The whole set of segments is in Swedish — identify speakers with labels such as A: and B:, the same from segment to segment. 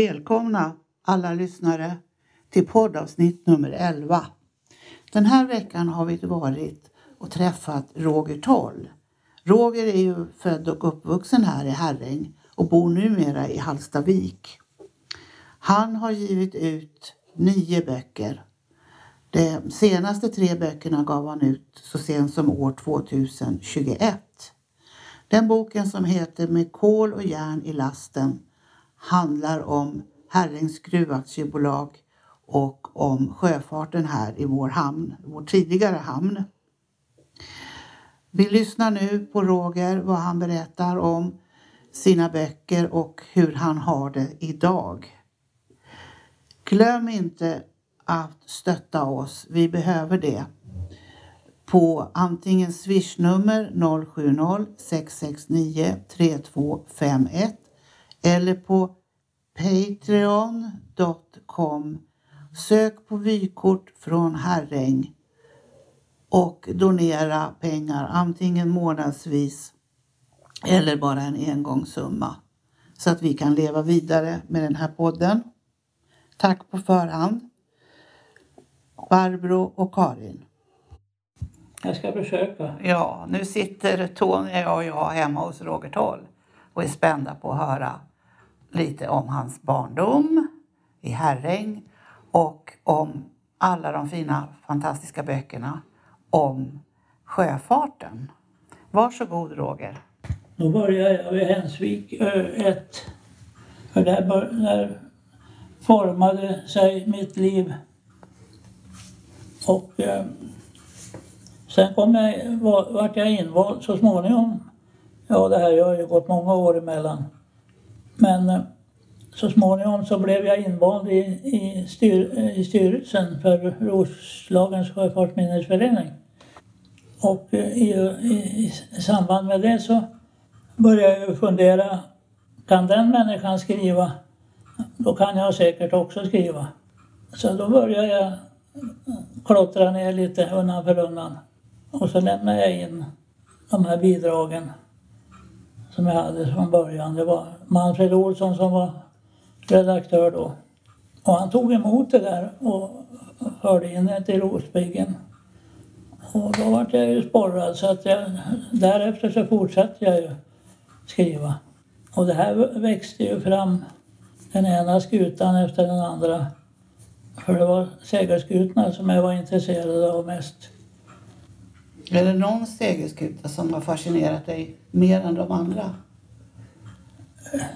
A: Välkomna alla lyssnare till poddavsnitt nummer 11. Den här veckan har vi varit och träffat Roger Toll. Roger är ju född och uppvuxen här i Herräng och bor numera i Hallstavik. Han har givit ut nio böcker. De senaste tre böckerna gav han ut så sent som år 2021. Den boken som heter Med kol och järn i lasten handlar om Herrängs gruvaktiebolag och om sjöfarten här i vår hamn, vår tidigare hamn. Vi lyssnar nu på Roger, vad han berättar om sina böcker och hur han har det idag. Glöm inte att stötta oss, vi behöver det på antingen swishnummer 070 669 3251 eller på patreon.com. Sök på vykort från Herräng och donera pengar antingen månadsvis eller bara en engångssumma så att vi kan leva vidare med den här podden. Tack på förhand. Barbro och Karin.
B: Jag ska försöka.
A: Ja, nu sitter Tony och jag hemma hos Roger Toll och är spända på att höra lite om hans barndom i Herräng och om alla de fina, fantastiska böckerna om sjöfarten. Varsågod Roger.
B: Då börjar jag vid Hensvik ö 1. För där, bör, där formade sig mitt liv. Och eh, sen kom jag, var, vart jag invald så småningom. Ja, det här jag har ju gått många år emellan. Men eh, så småningom så blev jag invald i, i, styr, i styrelsen för Roslagens sjöfartsminnesförening. Och eh, i, i, i samband med det så började jag ju fundera, kan den människan skriva, då kan jag säkert också skriva. Så då började jag klottra ner lite undan för undan. Och så lämnade jag in de här bidragen som jag hade från början. Det var Manfred Olsson som var redaktör då. Och han tog emot det där och förde in det till Rospiggen. Och då var jag ju sporrad så att jag, därefter så fortsatte jag ju skriva. Och det här växte ju fram den ena skutan efter den andra. För det var segelskutorna som jag var intresserad av mest.
A: Är det någon segelskuta som har fascinerat dig mer än de andra?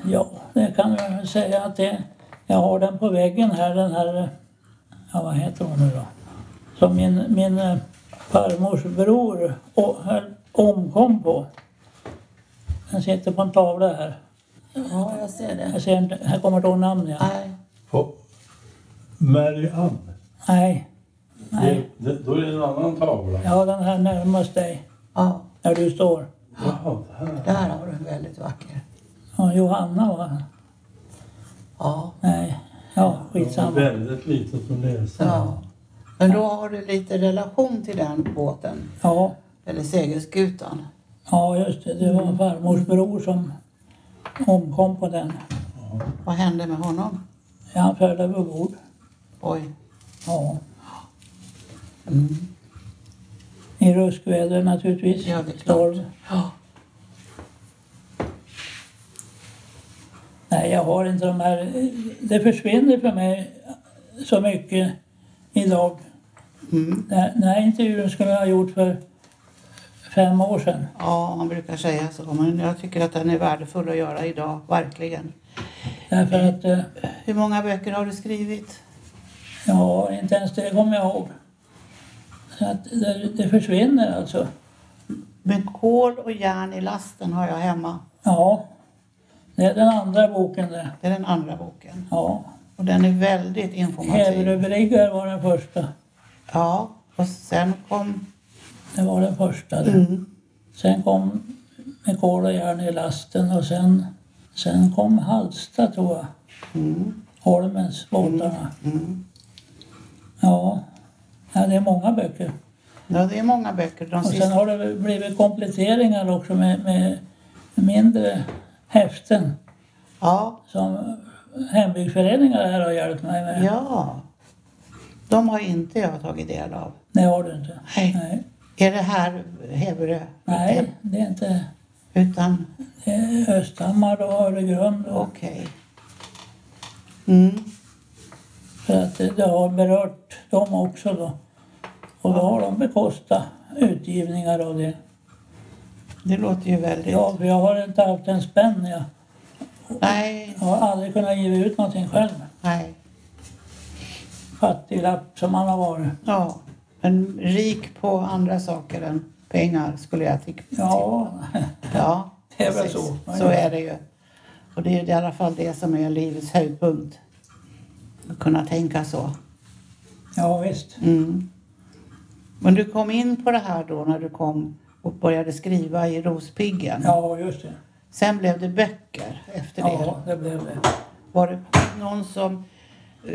B: Ja, det kan jag väl säga att det, jag har den på väggen här, den här, ja vad heter hon nu då? Som min, min eh, farmors bror o- höll- omkom på. Den sitter på en tavla här.
A: Ja, jag ser det.
B: Jag, ser, inte- jag kommer inte ihåg namnet. Ja.
A: Nej.
C: På Mary Ann?
B: Nej. Nej.
C: Det, det, då är det en annan tavla.
B: Jag har den här närmast dig,
A: Ja,
B: där du står.
C: Jaha, det här.
A: där har du en väldigt vacker.
B: Ja, Johanna va?
A: Ja.
B: Nej. Ja,
C: Det
B: skitsamma.
C: var väldigt litet att läsa.
A: ja. Men då har du lite relation till den båten,
B: Ja.
A: eller segelskutan.
B: Ja, just det. Det
A: Mm.
B: var farmors bror som omkom på den.
A: Vad hände med honom?
B: Ja, Han föll överbord.
A: Oj.
B: Ja.
A: Mm.
B: I ruskväder naturligtvis.
A: Ja, det är klart.
B: Storm.
A: Ja.
B: Nej, jag har inte de här... Det försvinner för mig så mycket idag.
A: Mm.
B: Den här- Den här intervjun skulle jag ha gjort för fem år sedan.
A: ja, man brukar säga så. Men jag tycker att den är värdefull att göra idag, verkligen.
B: Därför att, eh,
A: Hur många böcker har du skrivit?
B: ja, inte ens det kommer jag ihåg. Så att det, det försvinner alltså.
A: Med kol och järn i lasten har jag hemma.
B: Ja, det är den andra boken det.
A: Det är den andra boken.
B: Ja.
A: Och den är väldigt informativ.
B: Hävrebriggar var den första.
A: Ja, och sen kom...
B: Det var den första. det.
A: Mm.
B: Sen kom med kol och järn i lasten och sen, sen kom Halsta tror jag.
A: Mm.
B: Holmens båtarna.
A: Mm.
B: Ja. ja, det är många böcker.
A: Ja, det är många böcker. De
B: Och sen
A: sista...
B: har det väl blivit kompletteringar också med, med mindre häften
A: Ja,
B: som hembygdsföreningar här har hjälpt mig med.
A: Ja. De har inte jag tagit del av.
B: Nej, har du inte.
A: Nej.
B: Nej,
A: Är det här Heverö?
B: Nej det är inte.
A: Utan,
B: Det är Östhammar och Öregrund. Och,
A: okej. Mm.
B: så att det, det har berört dem också då. Och då har de bekostat utgivningar av det.
A: Det låter ju väldigt...
B: Ja, för jag har inte haft en spänn. Jag,
A: Nej,
B: jag har aldrig kunnat ge ut någonting själv.
A: nej.
B: Fattiglapp som man har varit.
A: Ja. Men rik på andra saker än pengar skulle jag tycka.
B: Ja,
A: Ja,
B: Det är väl
A: precis.
B: så. Ja,
A: Så
B: ja.
A: är det ju. Och det är i alla fall det som är livets höjdpunkt. Att kunna tänka så.
B: ja visst.
A: Mm. Men du kom in på det här då när du kom och började skriva i Rospiggen.
B: Ja, just det.
A: Sen blev det böcker efter det.
B: Ja, det blev det.
A: Var det någon som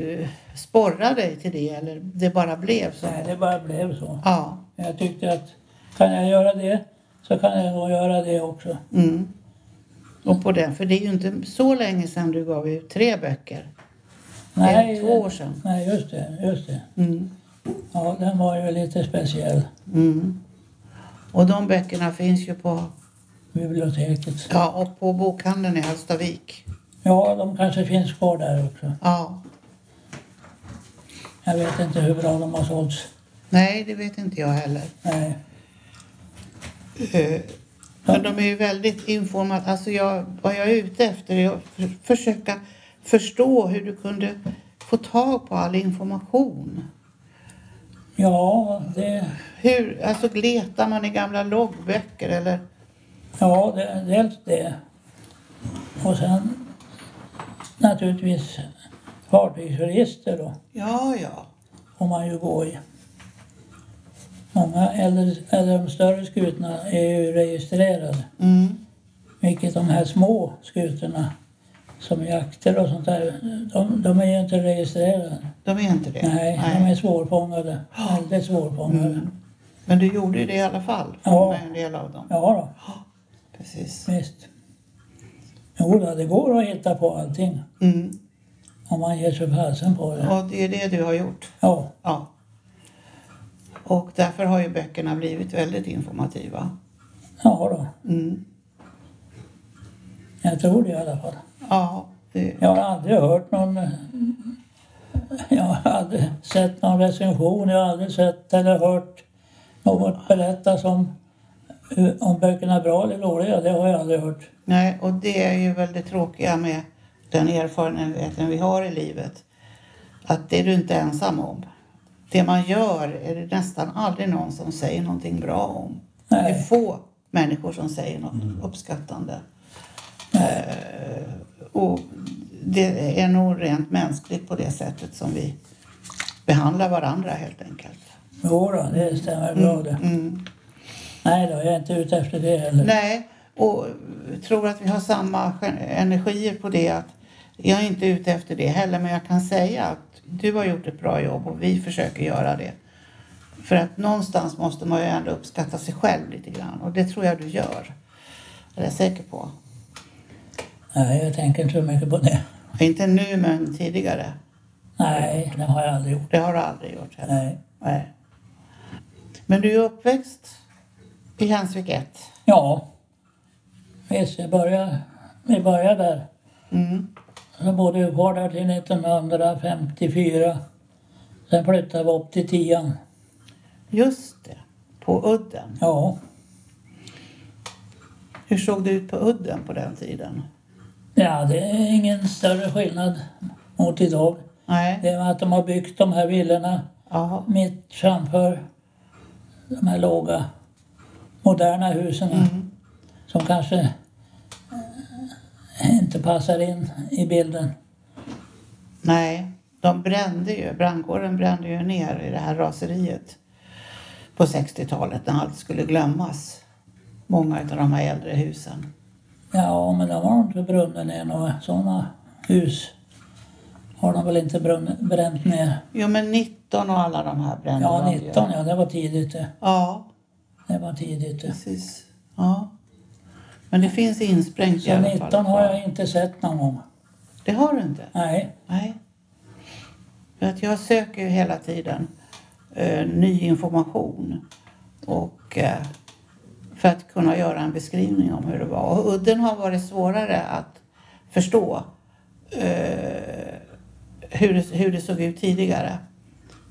A: uh, sporrade dig till det eller det bara blev så?
B: Nej, det bara blev så.
A: Ja.
B: Men Jag tyckte att kan jag göra det så kan jag nog göra det också.
A: Mm. Och på den, för det är ju inte så länge sedan du gav ut tre böcker. Det är två år sedan.
B: Nej, just det. Just det.
A: Mm.
B: Ja, den var ju lite speciell.
A: Mm. Och de böckerna finns ju på,
B: Biblioteket.
A: ja, och på bokhandeln i Hallstavik.
B: Ja, de kanske finns kvar där också.
A: Ja.
B: Jag vet inte hur bra de har sålts.
A: Nej, det vet inte jag heller.
B: Nej.
A: Eh, Men de är ju väldigt informativa. Alltså jag, vad jag är ute efter är att för- försöka förstå hur du kunde få tag på all information.
B: Ja, det,
A: Hur, alltså letar man i gamla loggböcker eller?
B: ja det, dels det. Och sen naturligtvis fartygsregister då.
A: Ja, ja.
B: får man ju gå i. Många eller, eller de större skutorna är ju registrerade.
A: Mm.
B: Vilket de här små skutorna som jakter och sånt där, de, de är ju inte registrerade.
A: De är inte det?
B: Nej, de är svårfångade. Väldigt svårfångade.
A: Men du gjorde ju det i alla fall?
B: Ja.
A: Med en del av dem.
B: Ja
A: Precis.
B: då, visst. Jo, då, det går att hitta på allting
A: Mm.
B: om man ger sig fasen på det.
A: Och det är det du har gjort?
B: Ja,
A: Ja. Och därför har ju böckerna blivit väldigt informativa.
B: ja då.
A: Mm.
B: Jag tror det i alla fall.
A: Ja, det,
B: Jag har aldrig hört någon... Jag har aldrig sett någon recension, jag har aldrig sett eller hört något berättas om eh, om böckerna är bra eller dåliga. Det har jag aldrig hört.
A: Nej, och det är ju väldigt tråkiga med den erfarenheten vi har i livet. Att det är du inte ensam om. Det man gör är det nästan aldrig någon som säger någonting bra om. Det är
B: Nej,
A: få människor som säger något uppskattande. Eh, och det är nog rent mänskligt på det sättet som vi behandlar varandra helt enkelt.
B: jo då, det stämmer bra det.
A: Mm.
B: Nej då, jag är inte ute efter det heller.
A: Nej, och tror att vi har samma gen- energier på det. Att jag är inte ute efter det heller, men jag kan säga att du har gjort ett bra jobb och vi försöker göra det. För att någonstans måste man ju ändå uppskatta sig själv lite grann och det tror jag du gör. Det är jag säker på.
B: Nej, jag tänker inte så mycket på det.
A: Inte nu, men tidigare.
B: Nej, det har jag aldrig gjort.
A: Det har du aldrig gjort heller.
B: Nej.
A: Nej. Men du är uppväxt i Hänsvik 1.
B: Ja, visst, jag börjar, vi börjar där.
A: Mm.
B: Jag bodde kvar där till 1954. Sen flyttade vi upp till tian.
A: Just det, på udden.
B: Ja,
A: Hur såg det ut på udden på den tiden?
B: ja det är ingen större skillnad mot idag.
A: Nej.
B: Det är att de har byggt de här villorna
A: Jaha.
B: mitt framför de här låga, moderna husen.
A: Mm.
B: Som kanske eh, inte passar in i bilden.
A: Nej, de brände ju. Brandkåren brände ju ner i det här raseriet på 60-talet när allt skulle glömmas. Många av de här äldre husen.
B: Ja, men de har inte brunnit ner några sådana hus. Har de väl inte brunn, bränt ner?
A: Jo, men 19 och alla de här brände
B: Ja,
A: de ju.
B: 19 ja, det var tidigt det.
A: Ja,
B: Det var tidigt det.
A: precis. Ja. Men det finns insprängt i
B: Så
A: alla fall.
B: 19 har jag inte sett någon gång.
A: Det har du inte?
B: Nej,
A: Nej. För att jag söker ju hela tiden eh, ny information. Och eh, för att kunna göra en beskrivning om hur det var. Och udden har varit svårare att förstå eh, hur, det, hur det såg ut tidigare.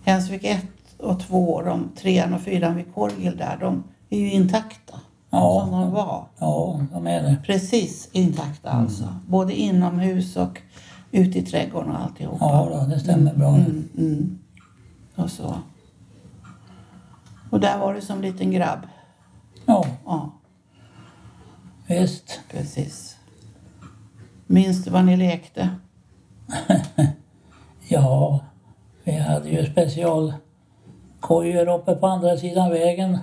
A: Hensvik 1 och 2, de 3 och 4 vid Korgil där, de är ju intakta.
B: Ja.
A: Som de var.
B: ja, de är det.
A: Precis intakta alltså. Både inomhus och ute i trädgården och alltihopa.
B: Ja, då, det stämmer bra.
A: Mm, mm. Och så. Och där var du som liten grabb.
B: Ja,
A: Ja,
B: visst.
A: precis. Minns du vad ni lekte?
B: Ja, vi hade ju specialkojor uppe på andra sidan vägen.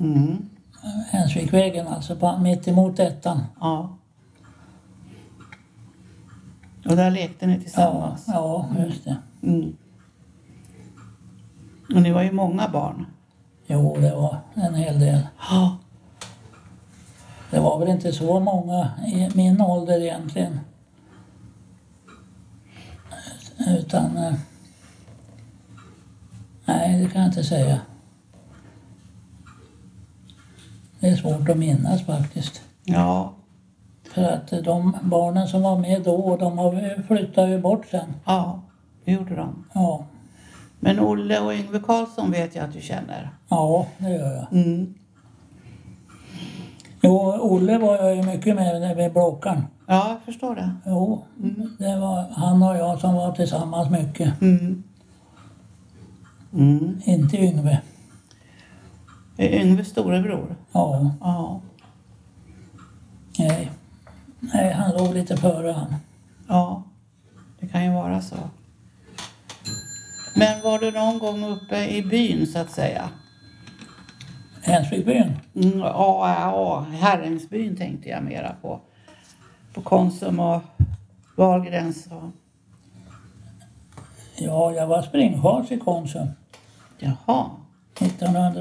A: Mm.
B: Hensvikvägen alltså, på, mitt emot ettan.
A: Ja. Och där lekte ni
B: Ja,
A: tillsammans?
B: ja, just det.
A: Mm. Och ni var ju många barn.
B: Jo, det var en hel del.
A: Ja.
B: Det var väl inte så många i min ålder egentligen. Utan... eh, Nej, det kan jag inte säga. Det är svårt att minnas faktiskt.
A: Ja.
B: För att eh, de barnen som var med då, de har flyttat ju bort sen.
A: Ja, det gjorde de.
B: Ja,
A: Men Olle och Yngve Karlsson vet jag att du känner.
B: ja det gör jag.
A: Mm.
B: Jo, Olle var jag ju mycket med när vi Blåkan.
A: Ja, jag förstår det.
B: Jo, det var han och jag som var tillsammans mycket.
A: Mm. Mm.
B: Inte Yngve.
A: Är Yngves storebror?
B: Ja,
A: Ja.
B: nej. Nej, han låg lite före han.
A: Ja, det kan ju vara så. Men var du någon gång uppe i byn så att säga?
B: Hensvikbyn?
A: Mm, ja, ja, Herrängsbyn tänkte jag mera på. På Konsum och Wahlgrens och...
B: Ja, jag var springchas i Konsum.
A: Jaha.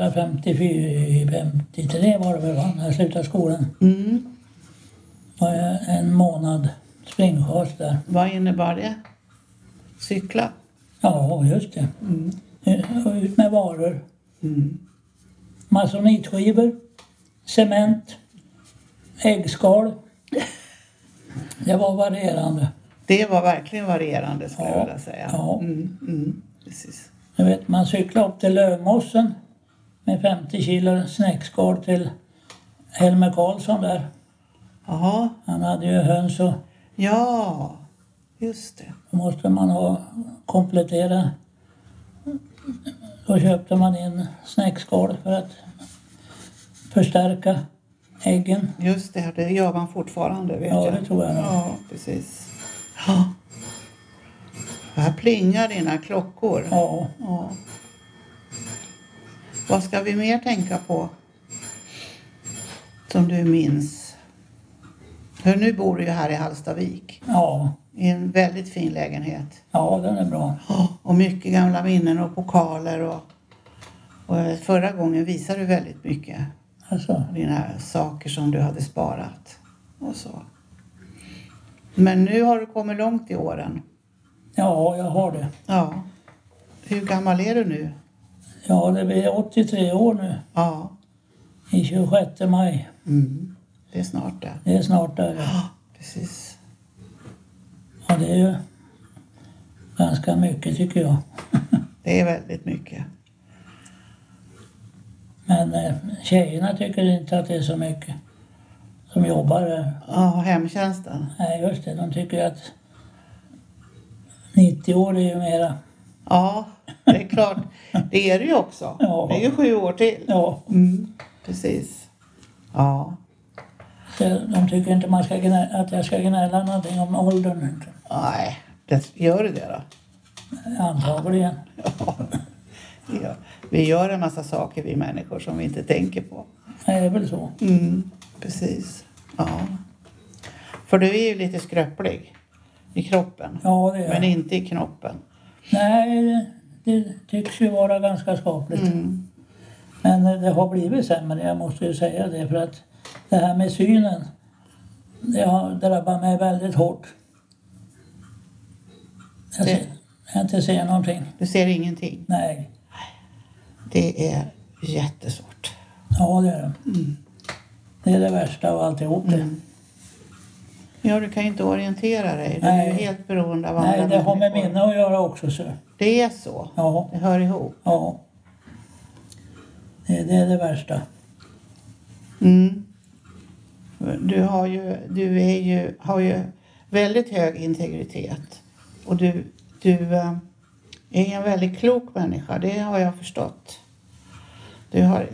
B: 1954, 53 var det väl va, när jag slutade skolan.
A: Mm.
B: Var jag en månad springchas där.
A: Vad innebar det? Cykla?
B: Ja, just det. Och Ut med varor.
A: Mm.
B: Masonitskivor, cement, äggskal. Det var varierande.
A: Det var verkligen varierande skulle
B: Ja,
A: jag vilja säga.
B: ja.
A: Mm, mm, precis.
B: Jag vet, man cyklade upp till Lövmossen med 50 kilo snäckskal till Helmer Karlsson där.
A: Jaha.
B: Han hade ju höns och
A: Ja, just det.
B: då måste man ha komplettera. Då köpte man in snäckskal för att förstärka äggen.
A: Just det, det gör man fortfarande vet
B: Ja,
A: jag.
B: det tror jag.
A: Ja, precis. Ja. Här plingar dina klockor.
B: Ja,
A: Ja. Vad ska vi mer tänka på? Som du minns? För nu bor du ju här i Hallstavik.
B: ja,
A: I en väldigt fin lägenhet.
B: ja den är bra.
A: Ja, Och mycket gamla minnen och pokaler. Och, och eh, förra gången visade du väldigt mycket
B: Alltså,
A: dina saker som du hade sparat och så. Men nu har du kommit långt i åren.
B: ja, jag har det.
A: Ja. Hur gammal är du nu?
B: Ja, det blir 83 år nu
A: Ja.
B: i 26 maj.
A: Mm. Det är snart det.
B: Det är snart där. ja.
A: Ja, precis.
B: Ja, det är ju ganska mycket tycker jag.
A: Det är väldigt mycket.
B: Men eh, tjejerna tycker inte att det är så mycket som jobbar där.
A: Ja, hemtjänsten.
B: Nej, just det, de tycker att 90 år är ju mera.
A: Ja, det är klart. Det är det ju också.
B: Ja.
A: Det är ju sju år till.
B: Ja,
A: Mm. Precis. Ja.
B: det- de tycker inte man ska gnä, att jag ska gnälla någonting om åldern. inte.
A: Nej, det, gör du det då?
B: Antagligen.
A: Det gör- Vi gör en massa saker vi människor som vi inte tänker på.
B: Det är väl så.
A: Mm, precis. Ja. För du är ju lite skröplig i kroppen.
B: Ja, det
A: Men
B: är
A: inte i knoppen.
B: Nej, det- det tycks ju vara ganska skapligt.
A: Mm.
B: Men eh, det har blivit sämre, jag måste ju säga det. För att det här med synen, det har drabbat mig väldigt hårt. Jag,
A: Det-
B: ser, jag inte ser någonting.
A: Du ser ingenting.
B: Nej.
A: Det är jättesvårt.
B: Ja, det är det. Det är det värsta av alltihop
A: Mm.
B: det.
A: Ja, du kan ju inte orientera dig. Du är ju
B: Nej.
A: helt beroende av andra
B: Nej, det har med
A: människor.
B: minne att göra också. Så.
A: Det är så.
B: Ja,
A: Det hör ihop.
B: ja. Det, det är det värsta.
A: Mm. Du, har ju, du är ju, har ju väldigt hög integritet. Och du, du eh, är en väldigt klok människa, det har jag förstått. Du har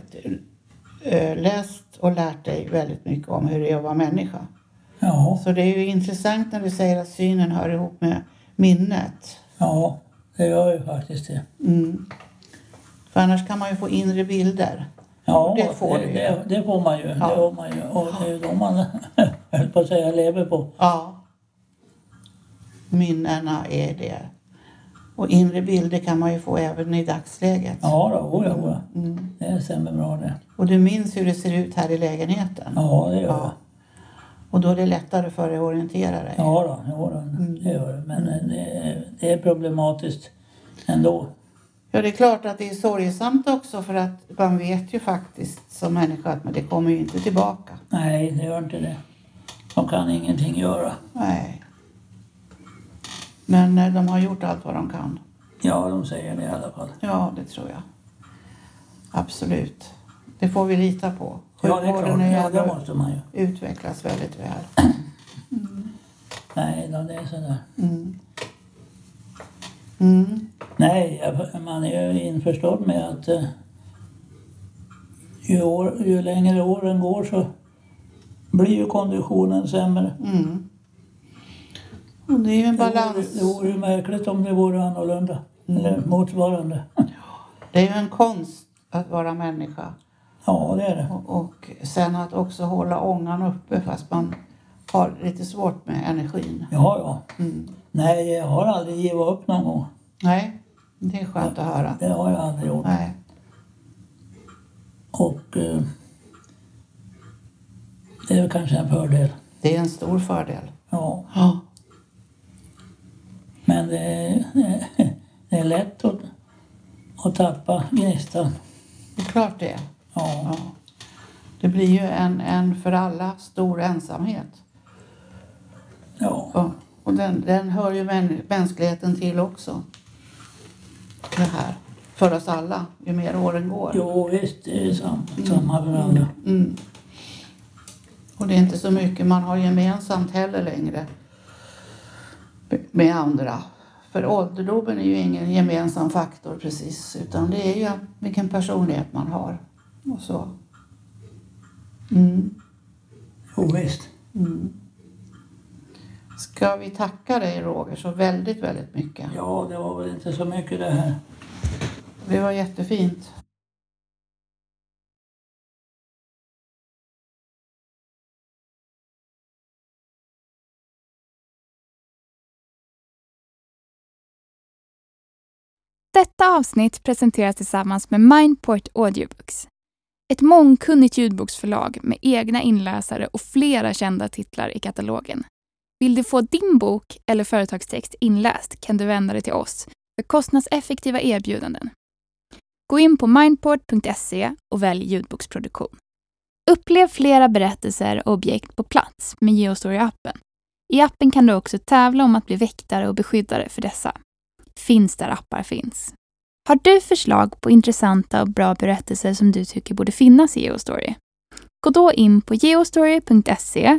A: eh, läst och lärt dig väldigt mycket om hur det är att vara människa.
B: Ja,
A: Så det är ju intressant när du säger att synen hör ihop med minnet.
B: ja. Det gör ju faktiskt det.
A: Mm. För annars kan man ju få inre bilder.
B: Ja,
A: Det får du ju.
B: det, det får man ju.
A: Ja.
B: Det har man ju. Och det är ju de man, höll på att säga, lever på.
A: Ja. Minnena är det. Och inre bilder kan man ju få även i dagsläget.
B: Ja, då, oja, oja.
A: Mm.
B: det stämmer bra det.
A: Och du minns hur det ser ut här i lägenheten.
B: Ja, det gör
A: Ja.
B: det.
A: Och då är det lättare för dig att orientera dig.
B: Ja, då, ja då,
A: Mm.
B: det gör det. Men eh, det, är- det är problematiskt ändå.
A: Ja, det är klart att det är sorgesamt också för att man vet ju faktiskt som människa att men det kommer ju inte tillbaka.
B: Nej, det gör inte det. De kan ingenting göra.
A: Nej. Men eh, de har gjort allt vad de kan.
B: Ja, de säger det i alla fall.
A: Ja, det tror jag. Absolut. Det får vi lita på.
B: Ja, det är
A: Sjukvården är
B: klart. Ja, det
A: ändå-
B: måste man ju.
A: utvecklas väldigt väl.
B: Nej, då, det är sådär.
A: Mm. Mm.
B: Nej, jag- man är ju införstådd med att eh, ju, år, ju längre åren går så blir ju konditionen sämre.
A: Mm. Och det är ju en balans.
B: Det vore, det vore ju märkligt om det vore annorlunda. Eller motsvarande.
A: Det är ju en konst att vara människa.
B: Ja, det är det.
A: Och, och sen att också hålla ångan uppe fast man har lite svårt med energin.
B: Ja, ja.
A: Mm.
B: Nej, jag har aldrig givit upp någon gång.
A: Nej, det är skönt att höra.
B: Det har jag aldrig gjort.
A: Nej.
B: Och eh, det är väl kanske en fördel.
A: Det är en stor fördel.
B: Ja.
A: Ja.
B: Men det är, det är lätt att, att tappa gnistan.
A: Det är klart det är.
B: Ja.
A: Ja. Det blir ju en, en för alla stor ensamhet.
B: ja.
A: Ja, och den, den hör ju män, mänskligheten till också. Det här. För oss alla, ju mer åren går.
B: Jo, visst, det är samma, samma för alla.
A: Mm. Och det är inte så mycket man har gemensamt heller längre med andra. För ålderdomen är ju ingen gemensam faktor precis, utan det är ju vilken personlighet man har. Och så. Mm.
B: Jo, visst.
A: Mm. Ska vi tacka dig Roger så väldigt, väldigt mycket.
B: Ja, det var väl inte så mycket det här.
A: Det var jättefint.
D: Detta avsnitt presenteras tillsammans med Mindport Audiobooks. Ett mångkunnigt ljudboksförlag med egna inläsare och flera kända titlar i katalogen. Vill du få din bok eller företagstext inläst kan du vända dig till oss för kostnadseffektiva erbjudanden. Gå in på mindport.se och välj ljudboksproduktion. Upplev flera berättelser och objekt på plats med Geostory-appen. I appen kan du också tävla om att bli väktare och beskyddare för dessa finns där appar finns. Har du förslag på intressanta och bra berättelser som du tycker borde finnas i Geostory? Gå då in på geostory.se,